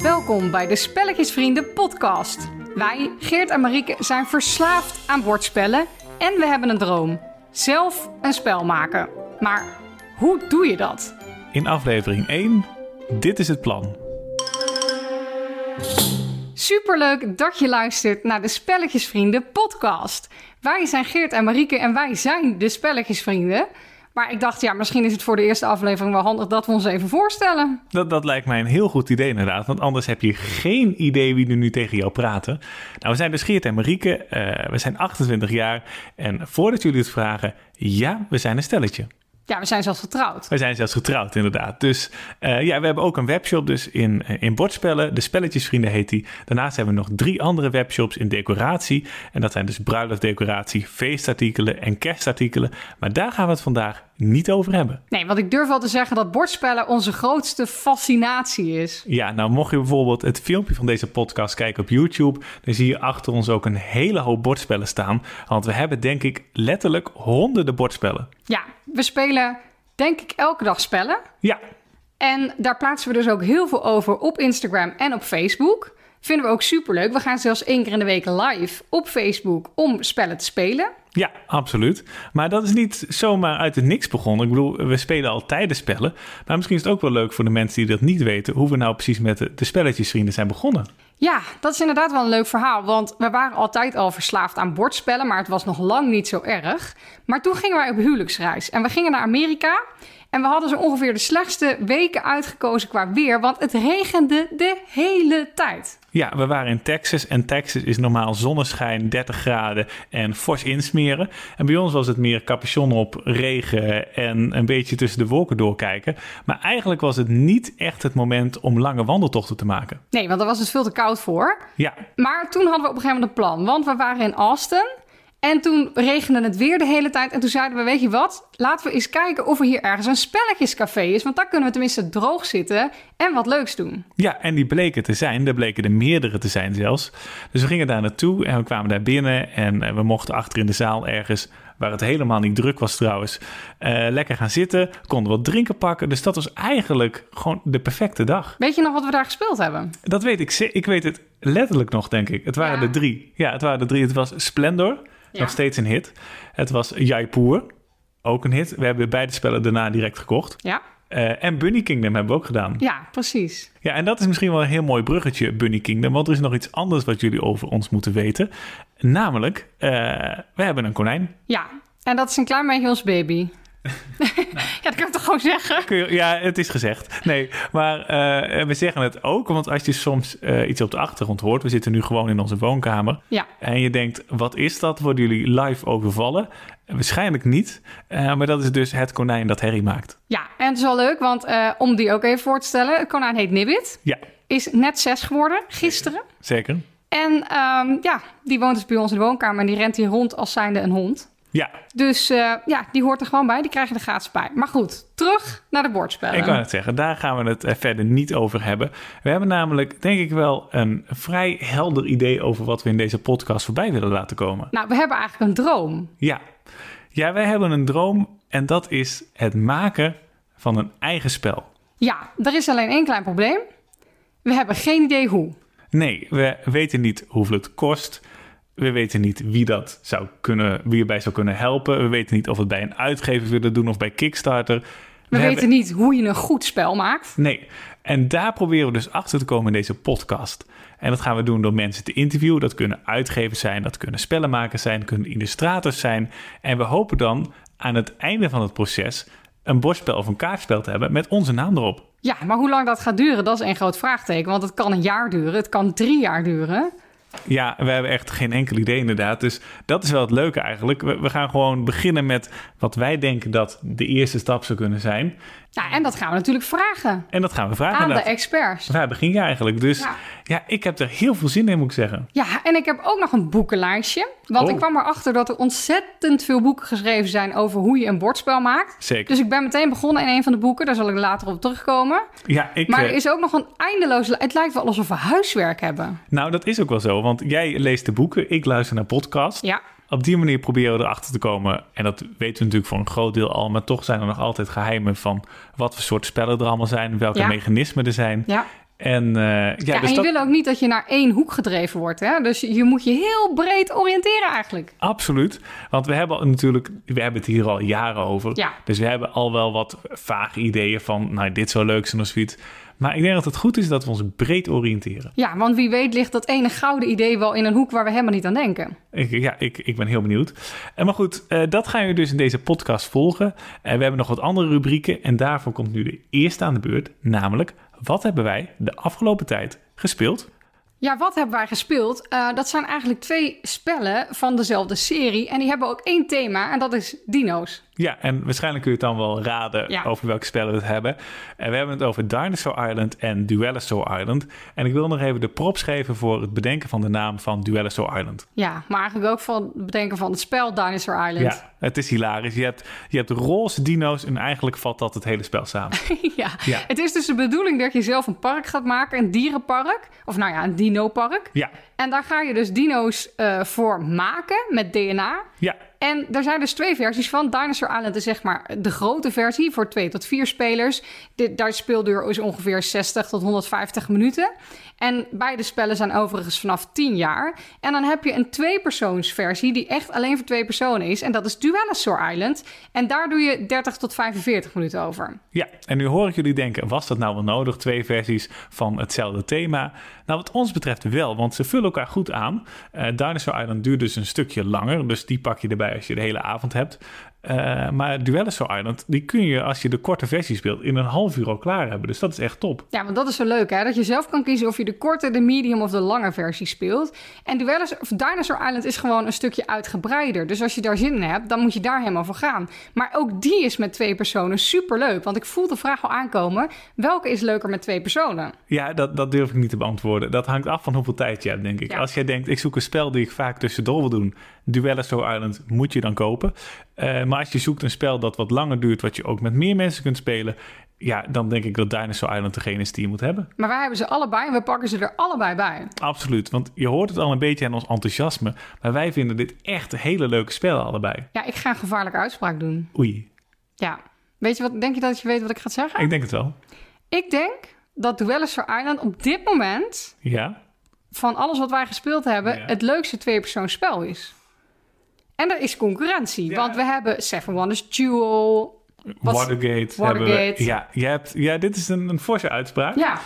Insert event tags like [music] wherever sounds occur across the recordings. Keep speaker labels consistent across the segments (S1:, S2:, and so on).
S1: Welkom bij de Spelletjesvrienden podcast. Wij, Geert en Marieke, zijn verslaafd aan bordspellen en we hebben een droom. Zelf een spel maken. Maar hoe doe je dat?
S2: In aflevering 1, dit is het plan.
S1: Superleuk dat je luistert naar de Spelletjesvrienden podcast. Wij zijn Geert en Marieke en wij zijn de Spelletjesvrienden. Maar ik dacht, ja, misschien is het voor de eerste aflevering wel handig dat we ons even voorstellen.
S2: Dat, dat lijkt mij een heel goed idee inderdaad, want anders heb je geen idee wie er nu tegen jou praten. Nou, we zijn dus Geert en Marieke, eh, we zijn 28 jaar en voordat jullie het vragen, ja, we zijn een stelletje.
S1: Ja, we zijn zelfs getrouwd.
S2: We zijn zelfs getrouwd inderdaad. Dus eh, ja, we hebben ook een webshop dus in, eh, in bordspellen, de Spelletjesvrienden heet die. Daarnaast hebben we nog drie andere webshops in decoratie en dat zijn dus bruiloftdecoratie, feestartikelen en kerstartikelen. Maar daar gaan we het vandaag niet over hebben.
S1: Nee, want ik durf wel te zeggen dat bordspellen onze grootste fascinatie is.
S2: Ja, nou mocht je bijvoorbeeld het filmpje van deze podcast kijken op YouTube, dan zie je achter ons ook een hele hoop bordspellen staan. Want we hebben denk ik letterlijk honderden bordspellen.
S1: Ja, we spelen denk ik elke dag spellen.
S2: Ja,
S1: En daar plaatsen we dus ook heel veel over op Instagram en op Facebook. Vinden we ook superleuk. We gaan zelfs één keer in de week live op Facebook om spellen te spelen.
S2: ja, absoluut. Maar dat is niet zomaar uit het niks begonnen. Ik bedoel, we spelen al tijden spellen. Maar misschien is het ook wel leuk voor de mensen die dat niet weten, hoe we nou precies met de, de spelletjesvrienden zijn begonnen.
S1: Ja, dat is inderdaad wel een leuk verhaal. Want we waren altijd al verslaafd aan bordspellen, maar het was nog lang niet zo erg. Maar toen gingen wij op huwelijksreis en we gingen naar Amerika. En we hadden zo ongeveer de slechtste weken uitgekozen qua weer, want het regende de hele tijd.
S2: Ja, we waren in Texas en Texas is normaal zonneschijn, 30 graden en fors insmeren. En bij ons was het meer capuchon op, regen en een beetje tussen de wolken doorkijken. Maar eigenlijk was het niet echt het moment om lange wandeltochten te maken.
S1: Nee, want daar was het veel te koud voor.
S2: Ja,
S1: Maar toen hadden we op een gegeven moment een plan, want we waren in Austin. En toen regende het weer de hele tijd. En toen zeiden we, weet je wat, laten we eens kijken of er hier ergens een spelletjescafé is. Want daar kunnen we tenminste droog zitten en wat leuks doen.
S2: ja, en die bleken te zijn. Er bleken er meerdere te zijn zelfs. Dus we gingen daar naartoe en we kwamen daar binnen en eh, we mochten achter in de zaal ergens... Waar het helemaal niet druk was trouwens. eh, lekker gaan zitten, konden wat drinken pakken. Dus dat was eigenlijk gewoon de perfecte dag.
S1: Weet je nog wat we daar gespeeld hebben?
S2: Dat weet ik. ze- Ik weet het letterlijk nog, denk ik. Het waren
S1: Ja.
S2: er drie. Ja, het waren er drie. Het was Splendor,
S1: Ja.
S2: nog steeds een hit. Het was Jaipur, ook een hit. We hebben beide spellen daarna direct gekocht.
S1: Ja,
S2: Eh, en Bunny Kingdom hebben we ook gedaan.
S1: ja precies.
S2: Ja, en dat is misschien wel een heel mooi bruggetje, Bunny Kingdom. Want er is nog iets anders wat jullie over ons moeten weten. Namelijk, eh, we hebben een konijn.
S1: Ja, en dat is een klein beetje ons [laughs] baby. ja, dat kan ik toch gewoon zeggen?
S2: Kun je- Ja, het is gezegd. Nee, maar eh, we zeggen het ook, want als je soms eh, iets op de achtergrond hoort... we zitten nu gewoon in onze woonkamer...
S1: Ja,
S2: En je denkt, wat is dat? Worden jullie live overvallen? Waarschijnlijk niet. Eh, maar dat is dus het konijn dat herrie maakt.
S1: ja. en het is wel leuk, want eh, om die ook even voor te stellen. Het konijn heet Nibbit.
S2: Ja,
S1: Is net zes geworden, gisteren.
S2: zeker.
S1: En ehm, ja, die woont dus bij ons in de woonkamer en die rent hier rond als zijnde een hond.
S2: Ja,
S1: Dus eh, ja, die hoort er gewoon bij. Die krijg je er gratis bij. Maar goed, terug naar de bordspellen.
S2: ik wou het zeggen. Daar gaan we het eh, verder niet over hebben. We hebben namelijk, denk ik wel, een vrij helder idee over wat we in deze podcast voorbij willen laten komen.
S1: Nou, we hebben eigenlijk een droom.
S2: Ja, ja wij hebben een droom en dat is het maken van een eigen spel.
S1: Ja, er is alleen één klein probleem. We hebben geen idee hoe.
S2: Nee, we weten niet hoeveel het kost. We weten niet wie, dat zou kunnen, wie erbij zou kunnen helpen. We weten niet of we het bij een uitgever willen doen of bij Kickstarter. We,
S1: We, weten
S2: hebben-
S1: niet hoe je een goed spel maakt.
S2: Nee, en daar proberen we dus achter te komen in deze podcast. En dat gaan we doen door mensen te interviewen. Dat kunnen uitgevers zijn, dat kunnen spellenmakers zijn, dat kunnen illustrators zijn. En we hopen dan aan het einde van het proces een bordspel of een kaartspel te hebben met onze naam erop.
S1: Ja, maar hoe lang dat gaat duren, dat is een groot vraagteken. Want het kan een jaar duren, het kan drie jaar duren.
S2: Ja, we hebben echt geen enkel idee inderdaad. Dus dat is wel het leuke eigenlijk. We, we gaan gewoon beginnen met wat wij denken dat de eerste stap zou kunnen zijn.
S1: Nou, en dat gaan we natuurlijk vragen
S2: En dat gaan we vragen
S1: aan Ah, de
S2: inderdaad.
S1: experts.
S2: Waar begin je eigenlijk? Dus
S1: Ja.
S2: ja. ik heb er heel veel zin in, moet ik zeggen.
S1: Ja, en ik heb ook nog een boekenlijstje. Want
S2: Oh.
S1: ik kwam erachter dat er ontzettend veel boeken geschreven zijn over hoe je een bordspel maakt.
S2: Zeker.
S1: Dus ik ben meteen begonnen in een van de boeken. Daar zal ik later op terugkomen.
S2: ja,
S1: Dus-
S2: ik,
S1: Maar
S2: eh,
S1: er is ook nog een eindeloze... Het lijkt wel alsof we huiswerk hebben.
S2: Nou, dat is ook wel zo. Want jij leest de boeken, ik luister naar podcasts.
S1: Ja,
S2: Op die manier proberen we erachter te komen. En dat weten we natuurlijk voor een groot deel al. Maar toch zijn er nog altijd geheimen van wat voor soort spellen er allemaal zijn. Welke
S1: Ja.
S2: mechanismen er zijn.
S1: ja.
S2: En, eh, ja,
S1: Ja,
S2: dus
S1: en je
S2: dat,
S1: wil ook niet dat je naar één hoek gedreven wordt. Hè? Dus je moet je heel breed oriënteren eigenlijk.
S2: Absoluut. Want we hebben natuurlijk, we hebben het hier al jaren over.
S1: Ja.
S2: Dus we hebben al wel wat vage ideeën van, nou, dit zou leuk zijn of zoiets. Maar ik denk dat het goed is dat we ons breed oriënteren.
S1: Ja, want wie weet ligt dat ene gouden idee wel in een hoek waar we helemaal niet aan denken.
S2: Ik, ja, ik, ik ben heel benieuwd. En maar goed, eh, dat gaan jullie dus in deze podcast volgen. En we hebben nog wat andere rubrieken. En daarvoor komt nu de eerste aan de beurt. Namelijk, wat hebben wij de afgelopen tijd gespeeld?
S1: Ja, wat hebben wij gespeeld? Eh, dat zijn eigenlijk twee spellen van dezelfde serie. En die hebben ook één thema en dat is dino's.
S2: Ja, en waarschijnlijk kun je het dan wel raden
S1: Ja.
S2: over welke spellen we het hebben. En we hebben het over Dinosaur Island en Duellosaur Island. En ik wil nog even de props geven voor het bedenken van de naam van Duellosaur Island.
S1: Ja, maar eigenlijk ook van het bedenken van het spel Dinosaur Island.
S2: Ja, het is hilarisch. Je hebt, je hebt roze dino's en eigenlijk vat dat het hele spel samen.
S1: [laughs] ja.
S2: Ja.
S1: Het is dus de bedoeling dat je zelf een park gaat maken, een dierenpark. Of nou ja, een dino-park.
S2: Ja,
S1: En daar ga je dus dino's eh, voor maken met DNA.
S2: ja,
S1: En er zijn dus twee versies van. Dinosaur Island is zeg maar de grote versie voor twee tot vier spelers. Dit, daar speelduur is ongeveer 60 tot 150 minuten. En beide spellen zijn overigens vanaf 10 jaar. En dan heb je een tweepersoonsversie die echt alleen voor twee personen is. En dat is Duellosaur Island. En daar doe je 30 tot 45 minuten over.
S2: ja. En nu hoor ik jullie denken, was dat nou wel nodig? Twee versies van hetzelfde thema. Nou, wat ons betreft wel, want ze vullen elkaar goed aan. Eh, Dinosaur Island duurt dus een stukje langer, dus die pak je erbij als je de hele avond hebt. Eh, maar Duellosaur Island, die kun je als je de korte versie speelt in een half uur al klaar hebben. Dus dat is echt top.
S1: Ja, want dat is zo leuk hè. Dat je zelf kan kiezen of je de korte, de medium of de lange versie speelt. En Duellis, of Dinosaur Island is gewoon een stukje uitgebreider. Dus als je daar zin in hebt, dan moet je daar helemaal voor gaan. Maar ook die is met twee personen superleuk. Want ik voel de vraag al aankomen. Welke is leuker met twee personen?
S2: Ja, dat, dat durf ik niet te beantwoorden. Dat hangt af van hoeveel tijd je hebt, denk ik.
S1: Ja.
S2: Als jij denkt, ik zoek een spel die ik vaak tussendoor wil doen, Duellosaur Island moet je dan kopen. Eh, maar als je zoekt een spel dat wat langer duurt, wat je ook met meer mensen kunt spelen, ja, dan denk ik dat Dinosaur Island degene is die je moet hebben.
S1: Maar wij hebben ze allebei en we pakken ze er allebei bij.
S2: Absoluut, want je hoort het al een beetje aan ons enthousiasme, maar wij vinden dit echt hele leuke spellen allebei.
S1: Ja, ik ga een gevaarlijke uitspraak doen.
S2: Oei,
S1: Ja. Weet je wat, denk je dat je weet wat ik ga zeggen?
S2: ik denk het wel.
S1: Ik denk dat Duellosaur Island op dit moment...
S2: Ja,
S1: van alles wat wij gespeeld hebben,
S2: Ja.
S1: het leukste tweepersoonsspel is. En er is concurrentie,
S2: Ja.
S1: want we hebben Seven Wonders Duel. Wat-
S2: Watergate, hebben
S1: Watergate.
S2: we. Ja, je hebt, ja, dit is een, een forse uitspraak.
S1: Ja,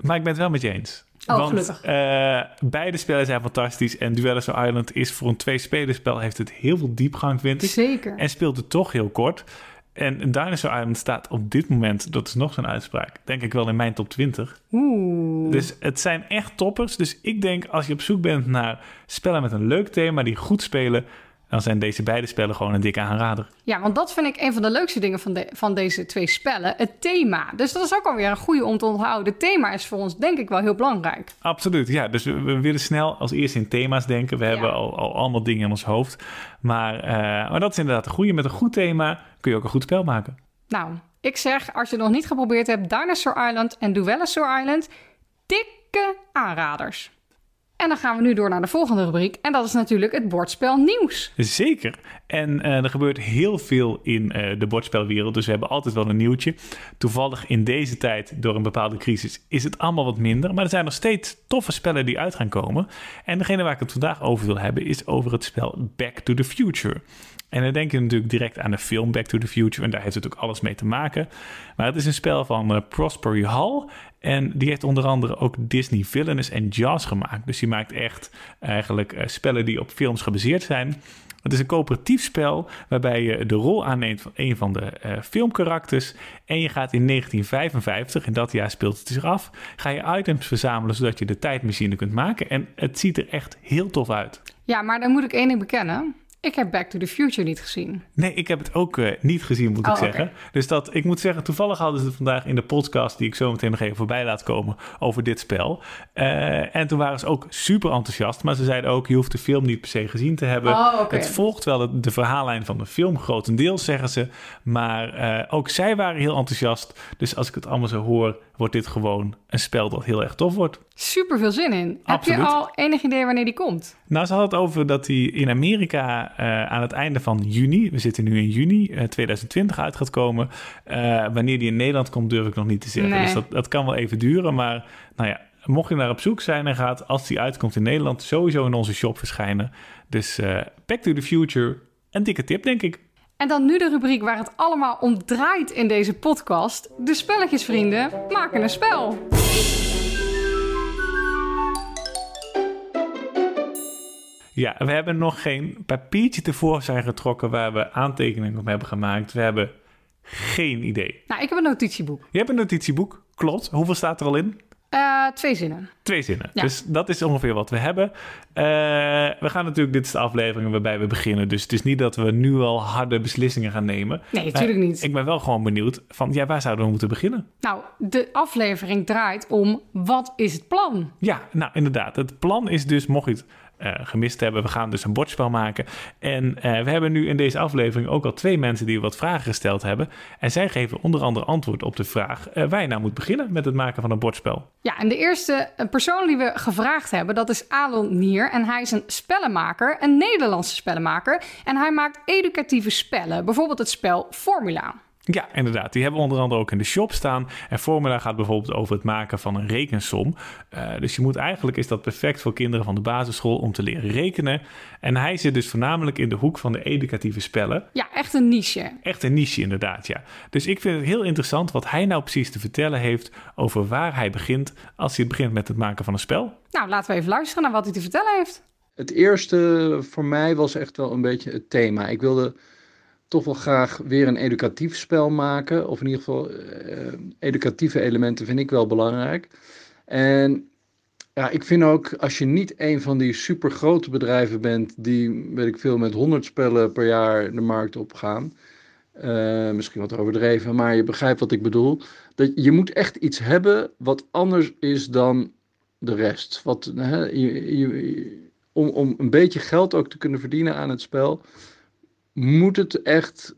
S2: Maar ik ben het wel met je eens.
S1: Oh,
S2: Want
S1: gelukkig.
S2: eh, beide spellen zijn fantastisch. En Duellosaur Island is voor een twee-spelerspel... heeft het heel veel diepgang, vind ik.
S1: zeker.
S2: Dus- En speelt het toch heel kort. En Dinosaur Island staat op dit moment... dat is nog zo'n uitspraak... denk ik wel in mijn top 20.
S1: Oeh.
S2: Dus het zijn echt toppers. Dus ik denk als je op zoek bent naar spellen met een leuk thema... die goed spelen... dan zijn deze beide spellen gewoon een dikke aanrader.
S1: Ja, want dat vind ik een van de leukste dingen van, de- van deze twee spellen, het thema. Dus dat is ook alweer een goede om te onthouden. Het thema is voor ons denk ik wel heel belangrijk.
S2: Absoluut, ja. Dus we, we willen snel als eerste in thema's denken. We hebben al, al allemaal dingen in ons hoofd. Maar, eh, maar dat is inderdaad een goede. Met een goed thema kun je ook een goed spel maken.
S1: Nou, ik zeg, als je het nog niet geprobeerd hebt, Dinosaur Island en Duellosaur Island, dikke aanraders. En dan gaan we nu door naar de volgende rubriek en dat is natuurlijk het bordspel nieuws.
S2: Zeker. En eh, er gebeurt heel veel in eh, de bordspelwereld. Dus we hebben altijd wel een nieuwtje. Toevallig in deze tijd, door een bepaalde crisis, is het allemaal wat minder. Maar er zijn nog steeds toffe spellen die uit gaan komen. En degene waar ik het vandaag over wil hebben, is over het spel Back to the Future. En dan denk je natuurlijk direct aan de film Back to the Future. En daar heeft het ook alles mee te maken. Maar het is een spel van eh, Prospery Hall. En die heeft onder andere ook Disney Villainous en Jaws gemaakt. Dus die maakt echt eigenlijk eh, spellen die op films gebaseerd zijn. Het is een coöperatief spel waarbij je de rol aanneemt van een van de eh, filmkarakters. En je gaat in 1955, en dat jaar speelt het zich af, ga je items verzamelen zodat je de tijdmachine kunt maken. En het ziet er echt heel tof uit.
S1: Ja, maar dan moet ik één ding bekennen. Ik heb Back to the Future niet gezien.
S2: Nee, ik heb het ook eh, niet gezien, moet ik
S1: Oh, oké.
S2: zeggen. Dus dat, ik moet zeggen, toevallig hadden ze het vandaag in de podcast... die ik zo meteen nog even voorbij laat komen over dit spel. Eh, en toen waren ze ook super enthousiast. Maar ze zeiden ook, je hoeft de film niet per se gezien te hebben.
S1: Oh, oké.
S2: Het volgt wel de, de verhaallijn van de film, grotendeels zeggen ze. Maar eh, ook zij waren heel enthousiast. Dus als ik het allemaal zo hoor, wordt dit gewoon een spel dat heel erg tof wordt.
S1: Super veel zin in.
S2: Absoluut.
S1: Heb je al enig idee wanneer die komt?
S2: Nou, ze had het over dat hij in Amerika eh, aan het einde van juni, we zitten nu in juni eh, 2020, uit gaat komen. Eh, wanneer die in Nederland komt, durf ik nog niet te zeggen.
S1: Nee.
S2: Dus dat, dat kan wel even duren. Maar nou ja, mocht je naar op zoek zijn en gaat, als die uitkomt in Nederland, sowieso in onze shop verschijnen. Dus eh, Back to the Future, een dikke tip, denk ik.
S1: En dan nu de rubriek waar het allemaal om draait in deze podcast. De spelletjesvrienden maken een spel.
S2: Ja, we hebben nog geen papiertje tevoorschijn getrokken waar we aantekeningen op hebben gemaakt. We hebben geen idee.
S1: Nou, ik heb een notitieboek.
S2: Je hebt een notitieboek, klopt. Hoeveel staat er al in?
S1: Eh, twee zinnen.
S2: Twee zinnen.
S1: Ja.
S2: Dus dat is ongeveer wat we hebben. Eh, we gaan natuurlijk, dit is de aflevering waarbij we beginnen. Dus het is niet dat we nu al harde beslissingen gaan nemen.
S1: Nee, natuurlijk
S2: Maar
S1: niet.
S2: Ik ben wel gewoon benieuwd van, ja, waar zouden we moeten beginnen?
S1: Nou, de aflevering draait om wat is het plan?
S2: Ja, nou inderdaad. Het plan is dus, mocht je het eh, gemist hebben, we gaan dus een bordspel maken. En eh, we hebben nu in deze aflevering ook al twee mensen die wat vragen gesteld hebben. En zij geven onder andere antwoord op de vraag eh, waar je nou moet beginnen met het maken van een bordspel.
S1: Ja, en de eerste eh, persoon die we gevraagd hebben, dat is Alon Nier. En hij is een spellenmaker, een Nederlandse spellenmaker. En hij maakt educatieve spellen, bijvoorbeeld het spel Formula.
S2: Ja, inderdaad. Die hebben we onder andere ook in de shop staan. En Formula gaat bijvoorbeeld over het maken van een rekensom. Eh, dus je moet eigenlijk, is dat perfect voor kinderen van de basisschool om te leren rekenen. En hij zit dus voornamelijk in de hoek van de educatieve spellen.
S1: Ja, echt een niche.
S2: Echt een niche inderdaad, ja. Dus ik vind het heel interessant wat hij nou precies te vertellen heeft over waar hij begint als hij begint met het maken van een spel.
S1: Nou, laten we even luisteren naar wat hij te vertellen heeft.
S3: Het eerste voor mij was echt wel een beetje het thema. Ik wilde toch wel graag weer een educatief spel maken. Of in ieder geval eh, educatieve elementen vind ik wel belangrijk. En ja, ik vind ook als je niet een van die supergrote bedrijven bent die, weet ik veel, met 100 spellen per jaar de markt opgaan. eh, misschien wat overdreven, maar je begrijpt wat ik bedoel. Dat je moet echt iets hebben wat anders is dan de rest. Wat, hè, je, je, om, om een beetje geld ook te kunnen verdienen aan het spel, moet het echt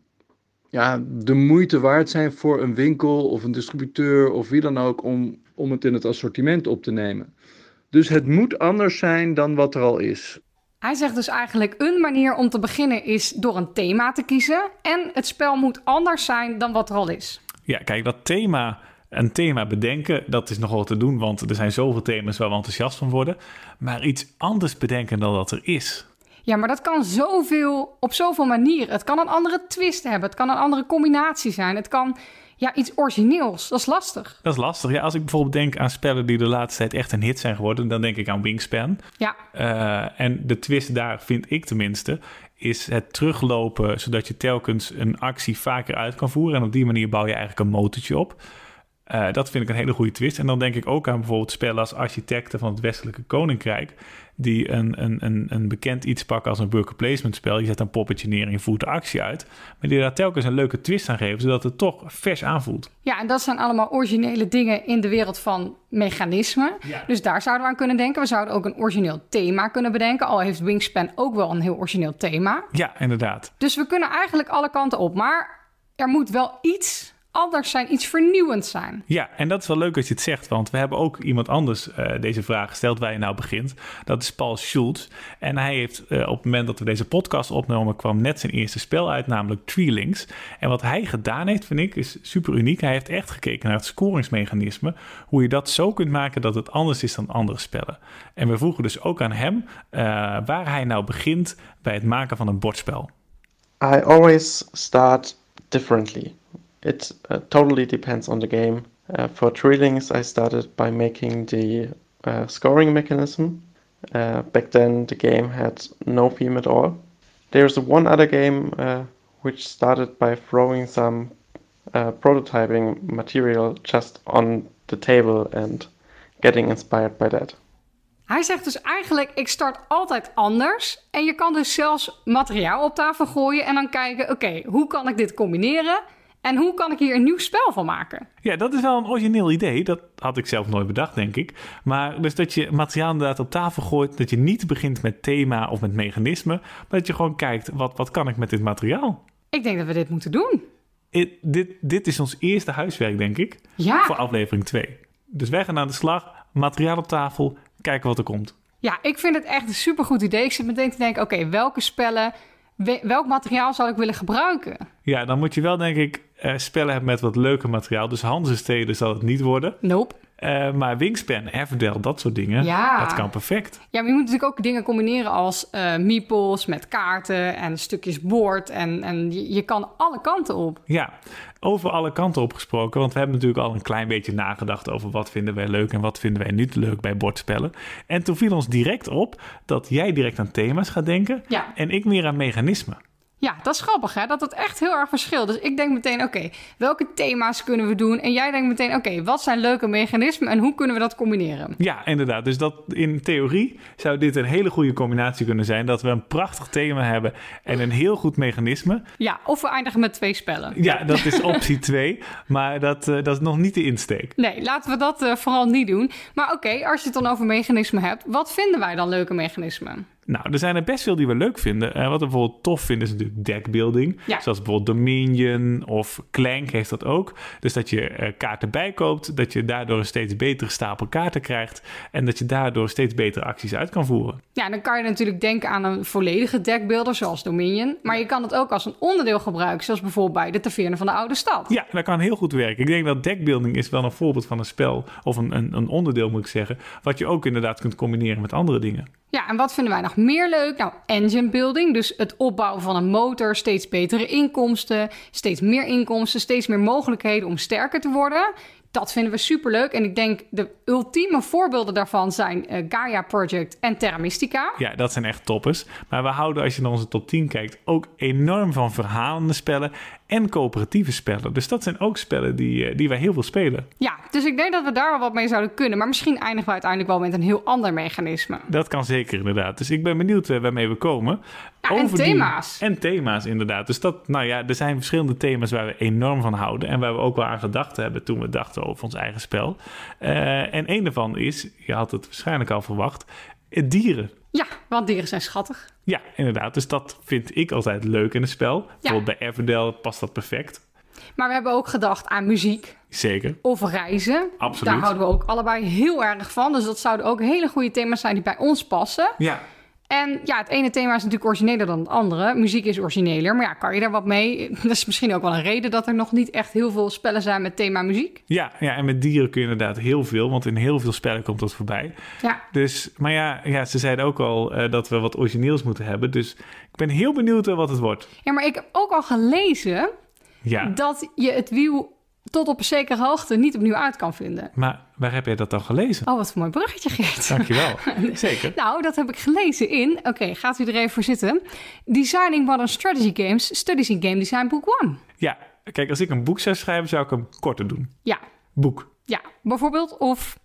S3: ja, de moeite waard zijn voor een winkel of een distributeur of wie dan ook om, om het in het assortiment op te nemen. Dus het moet anders zijn dan wat er al is.
S1: Hij zegt dus eigenlijk een manier om te beginnen is door een thema te kiezen. En het spel moet anders zijn dan wat er al is.
S2: Ja, kijk, dat thema, een thema bedenken, dat is nogal te doen, want er zijn zoveel thema's waar we enthousiast van worden. Maar iets anders bedenken dan dat er is,
S1: Ja, maar dat kan zoveel, op zoveel manieren. Het kan een andere twist hebben. Het kan een andere combinatie zijn. Het kan ja, iets origineels. Dat is lastig.
S2: dat is lastig. Ja, als ik bijvoorbeeld denk aan spellen die de laatste tijd echt een hit zijn geworden, dan denk ik aan Wingspan.
S1: Ja,
S2: Eh, en de twist daar, vind ik tenminste, is het teruglopen zodat je telkens een actie vaker uit kan voeren. En op die manier bouw je eigenlijk een motortje op. Eh, dat vind ik een hele goede twist. En dan denk ik ook aan bijvoorbeeld spellen als architecten van het Westelijke Koninkrijk. Die een, een, een, een bekend iets pakken als een worker placement spel. Je zet een poppetje neer en je voert de actie uit. Maar die daar telkens een leuke twist aan geven, zodat het toch vers aanvoelt.
S1: Ja, en dat zijn allemaal originele dingen in de wereld van mechanismen. Dus daar zouden we aan kunnen denken. We zouden ook een origineel thema kunnen bedenken. Al heeft Wingspan ook wel een heel origineel thema.
S2: Ja, inderdaad.
S1: Dus we kunnen eigenlijk alle kanten op. Maar er moet wel iets anders zijn, iets vernieuwends zijn.
S2: Ja, en dat is wel leuk als je het zegt, want we hebben ook iemand anders eh, deze vraag gesteld waar je nou begint. Dat is Paul Schultz. En hij heeft eh, op het moment dat we deze podcast opnamen, kwam net zijn eerste spel uit, namelijk Tree Links. En wat hij gedaan heeft, vind ik, is super uniek. Hij heeft echt gekeken naar het scoringsmechanisme, hoe je dat zo kunt maken dat het anders is dan andere spellen. En we vroegen dus ook aan hem eh, waar hij nou begint bij het maken van een bordspel.
S4: I always start differently. It uh, totally depends on the game. Uh, for Tree Links, I started by making the uh, scoring mechanism. Uh, back then, the game had no theme at all. There's one other game uh, which started by throwing some uh, prototyping material just on the table and getting inspired by that.
S1: Hij zegt dus eigenlijk, ik start altijd anders. En je kan dus zelfs materiaal op tafel gooien en dan kijken... oké, hoe kan ik dit combineren? En hoe kan ik hier een nieuw spel van maken?
S2: Ja, dat is wel een origineel idee. Dat had ik zelf nooit bedacht, denk ik. Maar dus dat je materiaal inderdaad op tafel gooit. Dat je niet begint met thema of met mechanisme. Maar dat je gewoon kijkt, wat, wat kan ik met dit materiaal?
S1: Ik denk dat we dit moeten doen.
S2: it- dit, dit is ons eerste huiswerk, denk ik, voor
S1: Ja.
S2: aflevering 2. Dus wij gaan aan de slag, materiaal op tafel, kijken wat er komt.
S1: ja, ik vind het echt een supergoed idee. Ik zit meteen te denken, oké, welke spellen, we- welk materiaal zou ik willen gebruiken?
S2: Ja, dan moet je wel, denk ik, eh, spellen hebben met wat leuker materiaal. Dus Hanzensteden zal het niet worden.
S1: Nope.
S2: Eh, maar Wingspan, Everdell, dat soort dingen,
S1: Ja.
S2: dat kan perfect.
S1: Ja, maar je moet natuurlijk ook dingen combineren als eh meeples met kaarten en stukjes boord. En, en je, je kan alle kanten op.
S2: Ja, over alle kanten opgesproken. Want we hebben natuurlijk al een klein beetje nagedacht over wat vinden wij leuk en wat vinden wij niet leuk bij bordspellen. En toen viel ons direct op dat jij direct aan thema's gaat denken
S1: Ja.
S2: en ik meer aan mechanismen.
S1: Ja, dat is grappig hè, dat het echt heel erg verschilt. Dus ik denk meteen, oké, welke thema's kunnen we doen? En jij denkt meteen, oké, wat zijn leuke mechanismen en hoe kunnen we dat combineren?
S2: Ja, inderdaad. Dus dat in theorie zou dit een hele goede combinatie kunnen zijn. Dat we een prachtig thema hebben en een heel goed mechanisme.
S1: Ja, of we eindigen met twee spellen.
S2: Ja, dat is optie 2. Maar dat, eh, dat is nog niet de insteek.
S1: Nee, laten we dat eh, vooral niet doen. Maar oké, als je het dan over mechanismen hebt, wat vinden wij dan leuke mechanismen?
S2: Nou, er zijn er best veel die we leuk vinden. Eh, wat we bijvoorbeeld tof vinden is natuurlijk deckbuilding.
S1: Ja.
S2: Zoals bijvoorbeeld Dominion of Clank heeft dat ook. Dus dat je eh, kaarten bijkoopt, dat je daardoor een steeds betere stapel kaarten krijgt en dat je daardoor steeds betere acties uit kan voeren.
S1: Ja, dan kan je natuurlijk denken aan een volledige deckbuilder zoals Dominion. Maar je kan het ook als een onderdeel gebruiken, zoals bijvoorbeeld bij de Taverne van de Oude Stad.
S2: Ja, dat kan heel goed werken. Ik denk dat deckbuilding is wel een voorbeeld van een spel of een, een, een onderdeel moet ik zeggen, wat je ook inderdaad kunt combineren met andere dingen.
S1: Ja, en wat vinden wij nog meer leuk? Nou, engine building, dus het opbouwen van een motor, steeds betere inkomsten, steeds meer inkomsten, steeds meer mogelijkheden om sterker te worden. Dat vinden we superleuk en ik denk de ultieme voorbeelden daarvan zijn eh, Gaia Project en Terra Mystica.
S2: Ja, dat zijn echt toppers. Maar we houden, als je naar onze top 10 kijkt, ook enorm van verhalende spellen en coöperatieve spellen. Dus dat zijn ook spellen die, eh, die wij heel veel spelen.
S1: Ja, dus ik denk dat we daar wel wat mee zouden kunnen, maar misschien eindigen we uiteindelijk wel met een heel ander mechanisme.
S2: Dat kan zeker inderdaad. Dus ik ben benieuwd eh, waarmee we komen.
S1: Ja, en
S2: Over die-
S1: thema's.
S2: En thema's inderdaad. Dus dat, nou ja, er zijn verschillende thema's waar we enorm van houden. En waar we ook wel aan gedacht hebben toen we dachten over ons eigen spel. Eh, en een daarvan is, je had het waarschijnlijk al verwacht, eh, dieren.
S1: Ja, want dieren zijn schattig.
S2: Ja, inderdaad. Dus dat vind ik altijd leuk in een spel. Bijvoorbeeld bij Everdell past dat perfect.
S1: Maar we hebben ook gedacht aan muziek
S2: Zeker.
S1: of reizen.
S2: Absoluut.
S1: Daar houden we ook allebei heel erg van. Dus dat zouden ook hele goede thema's zijn die bij ons passen.
S2: Ja.
S1: En ja, het ene thema is natuurlijk origineler dan het andere. Muziek is origineler, maar ja, kan je daar wat mee? [laughs] Dat is misschien ook wel een reden dat er nog niet echt heel veel spellen zijn met thema muziek.
S2: Ja, ja, en met dieren kun je inderdaad heel veel, want in heel veel spellen komt dat voorbij.
S1: Ja,
S2: Dus, maar ja, ja ze zeiden ook al eh, dat we wat origineels moeten hebben. Dus ik ben heel benieuwd eh, wat het wordt.
S1: ja maar ik heb ook al gelezen
S2: Ja,
S1: dat je het wiel tot op een zekere hoogte niet opnieuw uit kan vinden.
S2: maar waar heb jij dat dan gelezen?
S1: Oh, wat voor mooi bruggetje,
S2: [laughs]
S1: Geert.
S2: Dankjewel.
S1: [laughs]
S2: Zeker.
S1: Nou, dat heb ik gelezen in. Oké, gaat u er even voor zitten? Designing Modern Strategy Games, Studies in Game Design, Book 1.
S2: Ja, kijk, als ik een boek zou schrijven, zou ik hem korter doen.
S1: Ja,
S2: Boek.
S1: ja, bijvoorbeeld. Of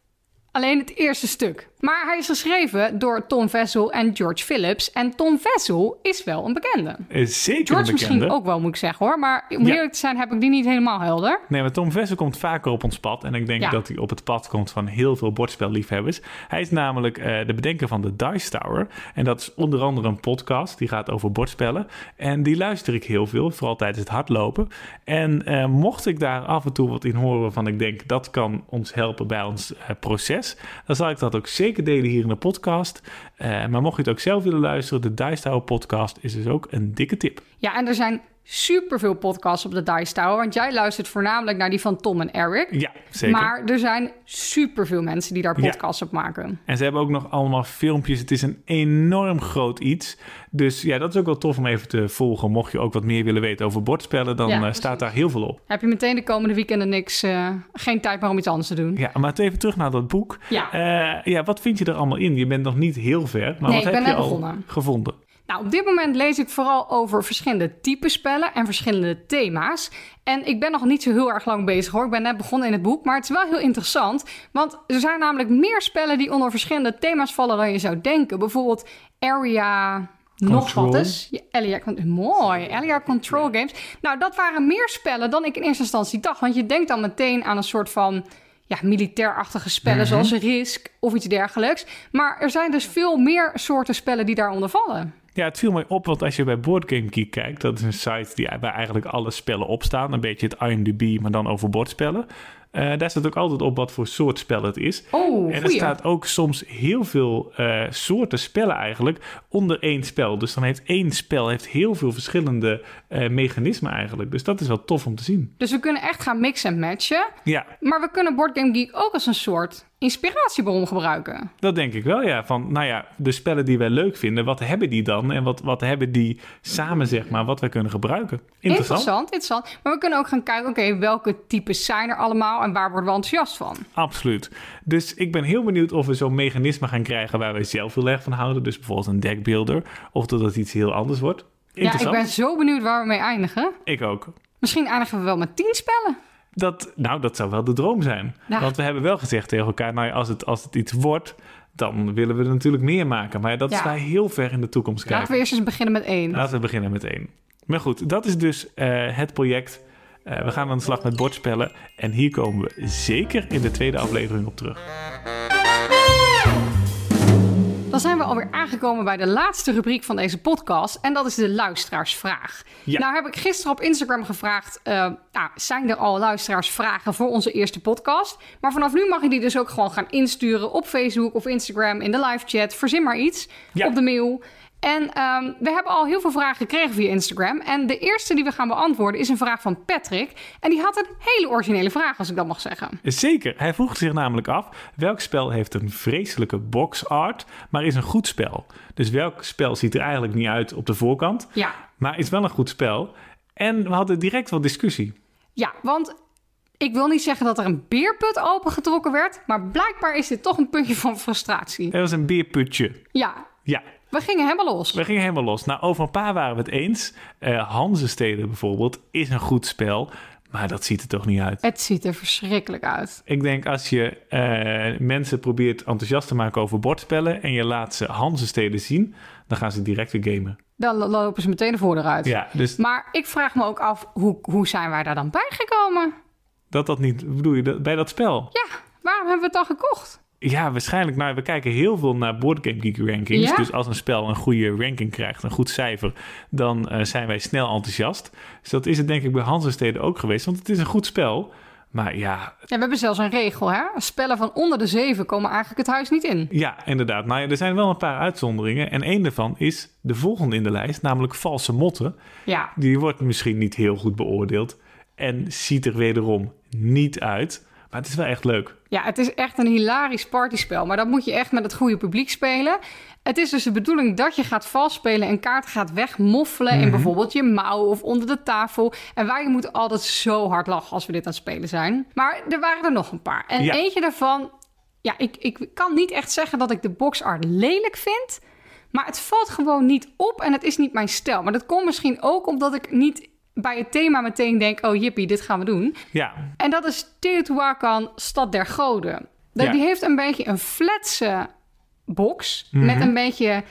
S1: alleen het eerste stuk. Maar hij is geschreven door Tom Vessel en George Phillips. En Tom Vessel is wel een bekende.
S2: Eh, zeker
S1: George
S2: een bekende.
S1: misschien ook wel, moet ik zeggen hoor. Maar om
S2: Ja.
S1: eerlijk te zijn heb ik die niet helemaal helder.
S2: Nee, maar Tom Vessel komt vaker op ons pad. En ik denk
S1: Ja.
S2: dat hij op het pad komt van heel veel bordspelliefhebbers. Hij is namelijk eh, de bedenker van de Dice Tower. En dat is onder andere een podcast die gaat over bordspellen. En die luister ik heel veel, vooral tijdens het hardlopen. En eh, mocht ik daar af en toe wat in horen waarvan ik denk dat kan ons helpen bij ons eh, proces, dan zal ik dat ook zeker delen hier in de podcast. Eh, maar mocht je het ook zelf willen luisteren, de Dice Tower podcast is dus ook een dikke tip.
S1: Ja, en er zijn superveel podcasts op de Dice Tower. Want jij luistert voornamelijk naar die van Tom en Eric.
S2: Ja, zeker.
S1: Maar er zijn superveel mensen die daar
S2: Ja.
S1: podcasts op maken.
S2: En ze hebben ook nog allemaal filmpjes. Het is een enorm groot iets. Dus ja, dat is ook wel tof om even te volgen. Mocht je ook wat meer willen weten over bordspellen, dan
S1: Ja,
S2: eh,
S1: precies.
S2: staat daar heel veel op.
S1: Heb je meteen de komende weekenden niks, eh, geen tijd meer om iets anders te doen?
S2: Ja, maar even terug naar dat boek.
S1: Ja.
S2: Eh, ja, wat vind je er allemaal in? Je bent nog niet heel ver, maar
S1: Nee,
S2: wat
S1: ik ben
S2: heb je
S1: net
S2: al
S1: begonnen.
S2: gevonden?
S1: Nou, op dit moment lees ik vooral over verschillende type spellen en verschillende thema's. En ik ben nog niet zo heel erg lang bezig hoor. Ik ben net begonnen in het boek, maar het is wel heel interessant. Want er zijn namelijk meer spellen die onder verschillende thema's vallen dan je zou denken. Bijvoorbeeld Area... Nog
S2: Control.
S1: wat eens. Ja, Area, Con- mooi. Area Control Games. Nou, dat waren meer spellen dan ik in eerste instantie dacht. Want je denkt dan meteen aan een soort van ja, militairachtige spellen zoals Risk of iets dergelijks. Maar er zijn dus veel meer soorten spellen die daaronder vallen.
S2: Ja, het viel mij op, want als je bij Boardgame Geek kijkt, dat is een site die, waar eigenlijk alle spellen op staan. Een beetje het IMDb, maar dan over bordspellen. Eh, daar staat ook altijd op wat voor soort spel het is.
S1: Oh,
S2: En er
S1: goeie.
S2: staat ook soms heel veel eh, soorten spellen eigenlijk onder één spel. Dus dan heeft één spel heeft heel veel verschillende eh, mechanismen eigenlijk. Dus dat is wel tof om te zien.
S1: Dus we kunnen echt gaan mixen en matchen.
S2: Ja,
S1: Maar we kunnen Board Game Geek ook als een soort inspiratiebron gebruiken.
S2: dat denk ik wel, ja. Van, nou ja, de spellen die wij leuk vinden, wat hebben die dan? En wat, wat hebben die samen, zeg maar, wat wij kunnen gebruiken? Interessant.
S1: Interessant, interessant. Maar we kunnen ook gaan kijken, oké, welke types zijn er allemaal en waar worden we enthousiast van?
S2: Absoluut. Dus ik ben heel benieuwd of we zo'n mechanisme gaan krijgen waar wij zelf heel erg van houden. Dus bijvoorbeeld een deckbuilder. Of dat het iets heel anders wordt.
S1: Ja, ik
S2: Interessant.
S1: ben zo benieuwd waar we mee eindigen.
S2: ik ook.
S1: Misschien eindigen we wel met tien spellen.
S2: Dat, nou, dat zou wel de droom zijn.
S1: Ja.
S2: Want we hebben wel gezegd tegen elkaar, nou, ja, als het, als het iets wordt, dan willen we er natuurlijk meer maken. Maar ja, dat
S1: Ja.
S2: is wij heel ver in de toekomst kijken.
S1: Laten we eerst eens beginnen met één.
S2: Laten we beginnen met één. Maar goed, dat is dus eh, het project. Eh, we gaan aan de slag met bordspellen. En hier komen we zeker in de tweede aflevering op terug.
S1: Dan zijn we alweer aangekomen bij de laatste rubriek van deze podcast. En dat is de luisteraarsvraag.
S2: Ja.
S1: Nou heb ik gisteren op Instagram gevraagd... eh, nou, zijn er al luisteraarsvragen voor onze eerste podcast? Maar vanaf nu mag je die dus ook gewoon gaan insturen... op Facebook of Instagram, in de live chat. Verzin maar iets
S2: Ja.
S1: op de mail. En ehm, we hebben al heel veel vragen gekregen via Instagram. En de eerste die we gaan beantwoorden is een vraag van Patrick. En die had een hele originele vraag, als ik dat mag zeggen.
S2: Zeker, hij vroeg zich namelijk af: welk spel heeft een vreselijke box art, maar is een goed spel? Dus welk spel ziet er eigenlijk niet uit op de voorkant,
S1: Ja,
S2: maar is wel een goed spel? En we hadden direct wel discussie.
S1: Ja, want ik wil niet zeggen dat er een beerput opengetrokken werd, maar blijkbaar is dit toch een puntje van frustratie.
S2: Er was een beerputje.
S1: Ja,
S2: Ja,
S1: we gingen helemaal los.
S2: we gingen helemaal los. Nou, over een paar waren we het eens. Eh Hanzesteden bijvoorbeeld is een goed spel, maar dat ziet er toch niet uit.
S1: Het ziet er verschrikkelijk uit.
S2: Ik denk als je eh, mensen probeert enthousiast te maken over bordspellen en je laat ze Hanzesteden zien, dan gaan ze direct weer gamen.
S1: Dan lo- lopen ze meteen de voordeur uit.
S2: Ja, dus
S1: Maar ik vraag me ook af, hoe, hoe zijn wij daar dan bij gekomen?
S2: dat dat niet, bedoel je, dat, bij dat spel?
S1: Ja, waarom hebben we het dan gekocht?
S2: Ja, waarschijnlijk. Nou, we kijken heel veel naar Board Game Geek rankings.
S1: Ja.
S2: Dus als een spel een goede ranking krijgt, een goed cijfer, dan eh, zijn wij snel enthousiast. Dus dat is het denk ik bij Hansensteden ook geweest, want het is een goed spel. Maar ja,
S1: Ja, we hebben zelfs een regel, hè? Spellen van onder de zeven komen eigenlijk het huis niet in.
S2: ja, inderdaad. Nou ja, er zijn wel een paar uitzonderingen. En één daarvan is de volgende in de lijst, namelijk Valse Motten.
S1: Ja,
S2: Die wordt misschien niet heel goed beoordeeld en ziet er wederom niet uit. Maar het is wel echt leuk.
S1: Ja, het is echt een hilarisch partyspel. Maar dat moet je echt met het goede publiek spelen. Het is dus de bedoeling dat je gaat valspelen en kaarten gaat wegmoffelen in bijvoorbeeld je mouw of onder de tafel. En wij moeten altijd zo hard lachen als we dit aan het spelen zijn. Maar er waren er nog een paar. En
S2: Ja.
S1: eentje daarvan, ja, ik, ik kan niet echt zeggen dat ik de box art lelijk vind. Maar het valt gewoon niet op en het is niet mijn stijl. Maar dat komt misschien ook omdat ik niet bij het thema meteen denk: oh jippie, dit gaan we doen.
S2: Ja,
S1: En dat is Teotihuacan, Stad der Goden. Dat
S2: Ja.
S1: Die heeft een beetje een flatse box met een beetje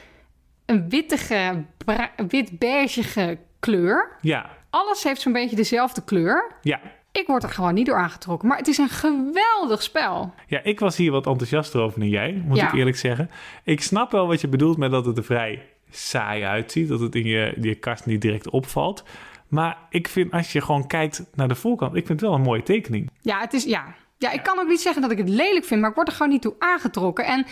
S1: een wittige, bra- wit-beigige kleur.
S2: ja,
S1: Alles heeft zo'n beetje dezelfde kleur.
S2: ja.
S1: Ik word er gewoon niet door aangetrokken, maar het is een geweldig spel.
S2: Ja, ik was hier wat enthousiaster over dan jij, moet
S1: Ja.
S2: ik eerlijk zeggen. Ik snap wel wat je bedoelt met dat het er vrij saai uitziet. Dat het in je, je kast niet direct opvalt. Maar ik vind als je gewoon kijkt naar de voorkant, ik vind het wel een mooie tekening.
S1: Ja, het is, ja. ja, ik kan ook niet zeggen dat ik het lelijk vind, maar ik word er gewoon niet toe aangetrokken. En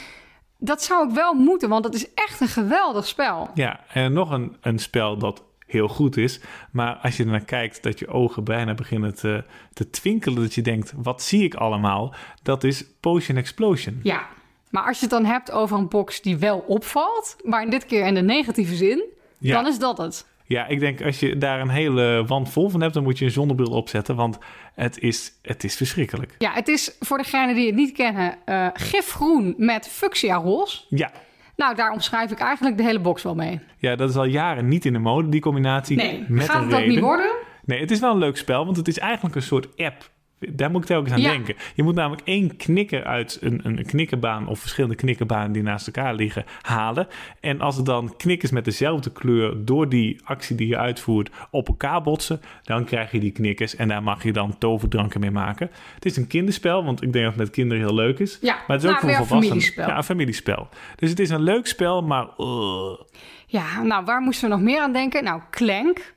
S1: dat zou ik wel moeten, want het is echt een geweldig spel.
S2: Ja, en nog een, een spel dat heel goed is. Maar als je ernaar kijkt dat je ogen bijna beginnen te, te twinkelen. Dat je denkt, wat zie ik allemaal? Dat is Potion Explosion.
S1: Ja, maar als je het dan hebt over een box die wel opvalt, maar dit keer in de negatieve zin,
S2: Ja.
S1: dan is dat het.
S2: Ja, ik denk als je daar een hele wand vol van hebt, dan moet je een zonnebril opzetten. Want het is, het is verschrikkelijk.
S1: Ja, het is voor degenen die het niet kennen, eh, gifgroen met fuchsia roze.
S2: Ja,
S1: Nou, daar omschrijf ik eigenlijk de hele box wel mee.
S2: Ja, dat is al jaren niet in de mode, die combinatie.
S1: Nee,
S2: met
S1: gaat
S2: een
S1: het ook
S2: reden.
S1: niet worden?
S2: Nee, het is wel een leuk spel, want het is eigenlijk een soort app Daar moet ik telkens aan
S1: Ja.
S2: denken. Je moet namelijk één knikker uit een, een knikkenbaan of verschillende knikkenbanen die naast elkaar liggen halen. En als er dan knikkers met dezelfde kleur door die actie die je uitvoert op elkaar botsen, dan krijg je die knikkers en daar mag je dan toverdranken mee maken. Het is een kinderspel, want ik denk dat het met kinderen heel leuk is.
S1: Ja,
S2: maar het is ook
S1: nou,
S2: voor
S1: weer een
S2: volwassenen.
S1: familiespel.
S2: Ja, een familiespel. Dus het is een leuk spel, maar eh,
S1: Ja, nou, waar moesten we nog meer aan denken? Nou, Clank.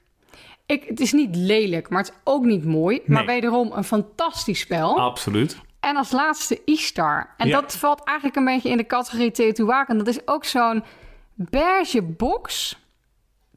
S1: Ik, het is niet lelijk, maar het is ook niet mooi. Maar
S2: Nee.
S1: wederom een fantastisch
S2: Oh.
S1: spel.
S2: absoluut.
S1: En als laatste Ishtar. En
S2: Ja.
S1: dat valt eigenlijk een beetje in de categorie Teotihuacan. Dat is ook zo'n beige box.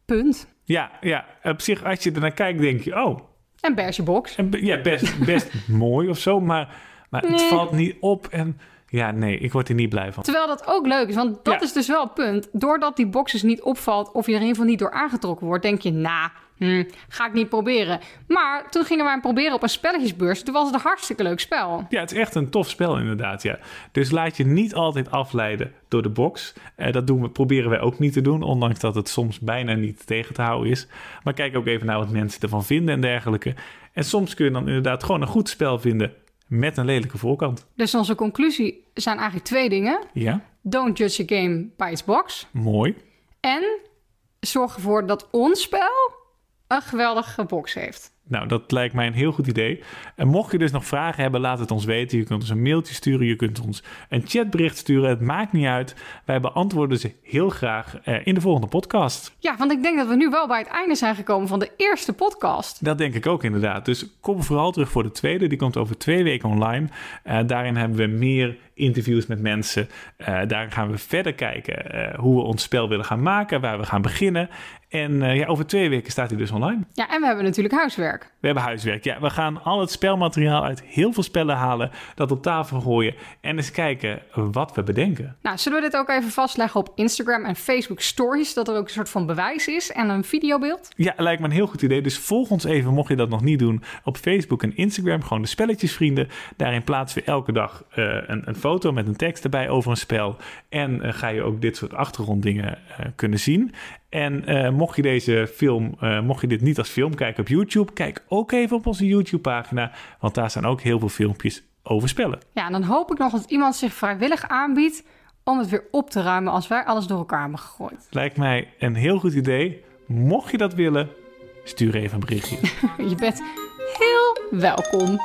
S1: Punt.
S2: Ja, ja, op zich als je ernaar kijkt denk je, oh,
S1: En beige box.
S2: En be- ja, best, [laughs] best mooi of zo, maar, maar het
S1: Nee.
S2: valt niet op. En ja, nee, ik word er niet blij van.
S1: Terwijl dat ook leuk is, want dat
S2: Ja.
S1: is dus wel het punt. Doordat die box dus niet opvalt of je er in ieder geval niet door aangetrokken wordt, denk je, nou, hm, ga ik niet proberen. Maar toen gingen wij hem proberen op een spelletjesbeurs. Toen was het een hartstikke leuk spel.
S2: Ja, het is echt een tof spel inderdaad, ja. Dus laat je niet altijd afleiden door de box. Eh, dat doen we, proberen wij ook niet te doen, ondanks dat het soms bijna niet tegen te houden is. Maar kijk ook even naar wat mensen ervan vinden en dergelijke. En soms kun je dan inderdaad gewoon een goed spel vinden met een lelijke voorkant.
S1: Dus onze conclusie zijn eigenlijk twee dingen.
S2: Ja,
S1: Don't judge a game by its box.
S2: mooi.
S1: En zorg ervoor dat ons spel een geweldige box heeft.
S2: Nou, dat lijkt mij een heel goed idee. En mocht je dus nog vragen hebben, laat het ons weten. Je kunt ons een mailtje sturen, je kunt ons een chatbericht sturen. Het maakt niet uit. Wij beantwoorden ze heel graag eh, in de volgende podcast.
S1: Ja, want ik denk dat we nu wel bij het einde zijn gekomen van de eerste podcast.
S2: Dat denk ik ook inderdaad. Dus kom vooral terug voor de tweede. Die komt over twee weken online. Eh, daarin hebben we meer interviews met mensen. Eh, daarin gaan we verder kijken eh, hoe we ons spel willen gaan maken, waar we gaan beginnen. En eh, ja, over twee weken staat hij dus online.
S1: Ja, en we hebben natuurlijk huiswerk.
S2: We hebben huiswerk. Ja, we gaan al het spelmateriaal uit heel veel spellen halen, dat op tafel gooien en eens kijken wat we bedenken.
S1: Nou, zullen we dit ook even vastleggen op Instagram en Facebook Stories, dat er ook een soort van bewijs is en een videobeeld?
S2: Ja, lijkt me een heel goed idee. Dus volg ons even, mocht je dat nog niet doen, op Facebook en Instagram. Gewoon de spelletjesvrienden. Daarin plaatsen we elke dag eh, een, een foto met een tekst erbij over een spel. En eh, ga je ook dit soort achtergronddingen eh, kunnen zien. En eh, mocht je deze film, eh, mocht je dit niet als film kijken op YouTube, kijk ook even op onze YouTube-pagina. Want daar staan ook heel veel filmpjes over spellen.
S1: Ja, en dan hoop ik nog dat iemand zich vrijwillig aanbiedt om het weer op te ruimen als wij alles door elkaar hebben gegooid.
S2: Lijkt mij een heel goed idee. Mocht je dat willen, stuur even een berichtje.
S1: Je bent heel welkom.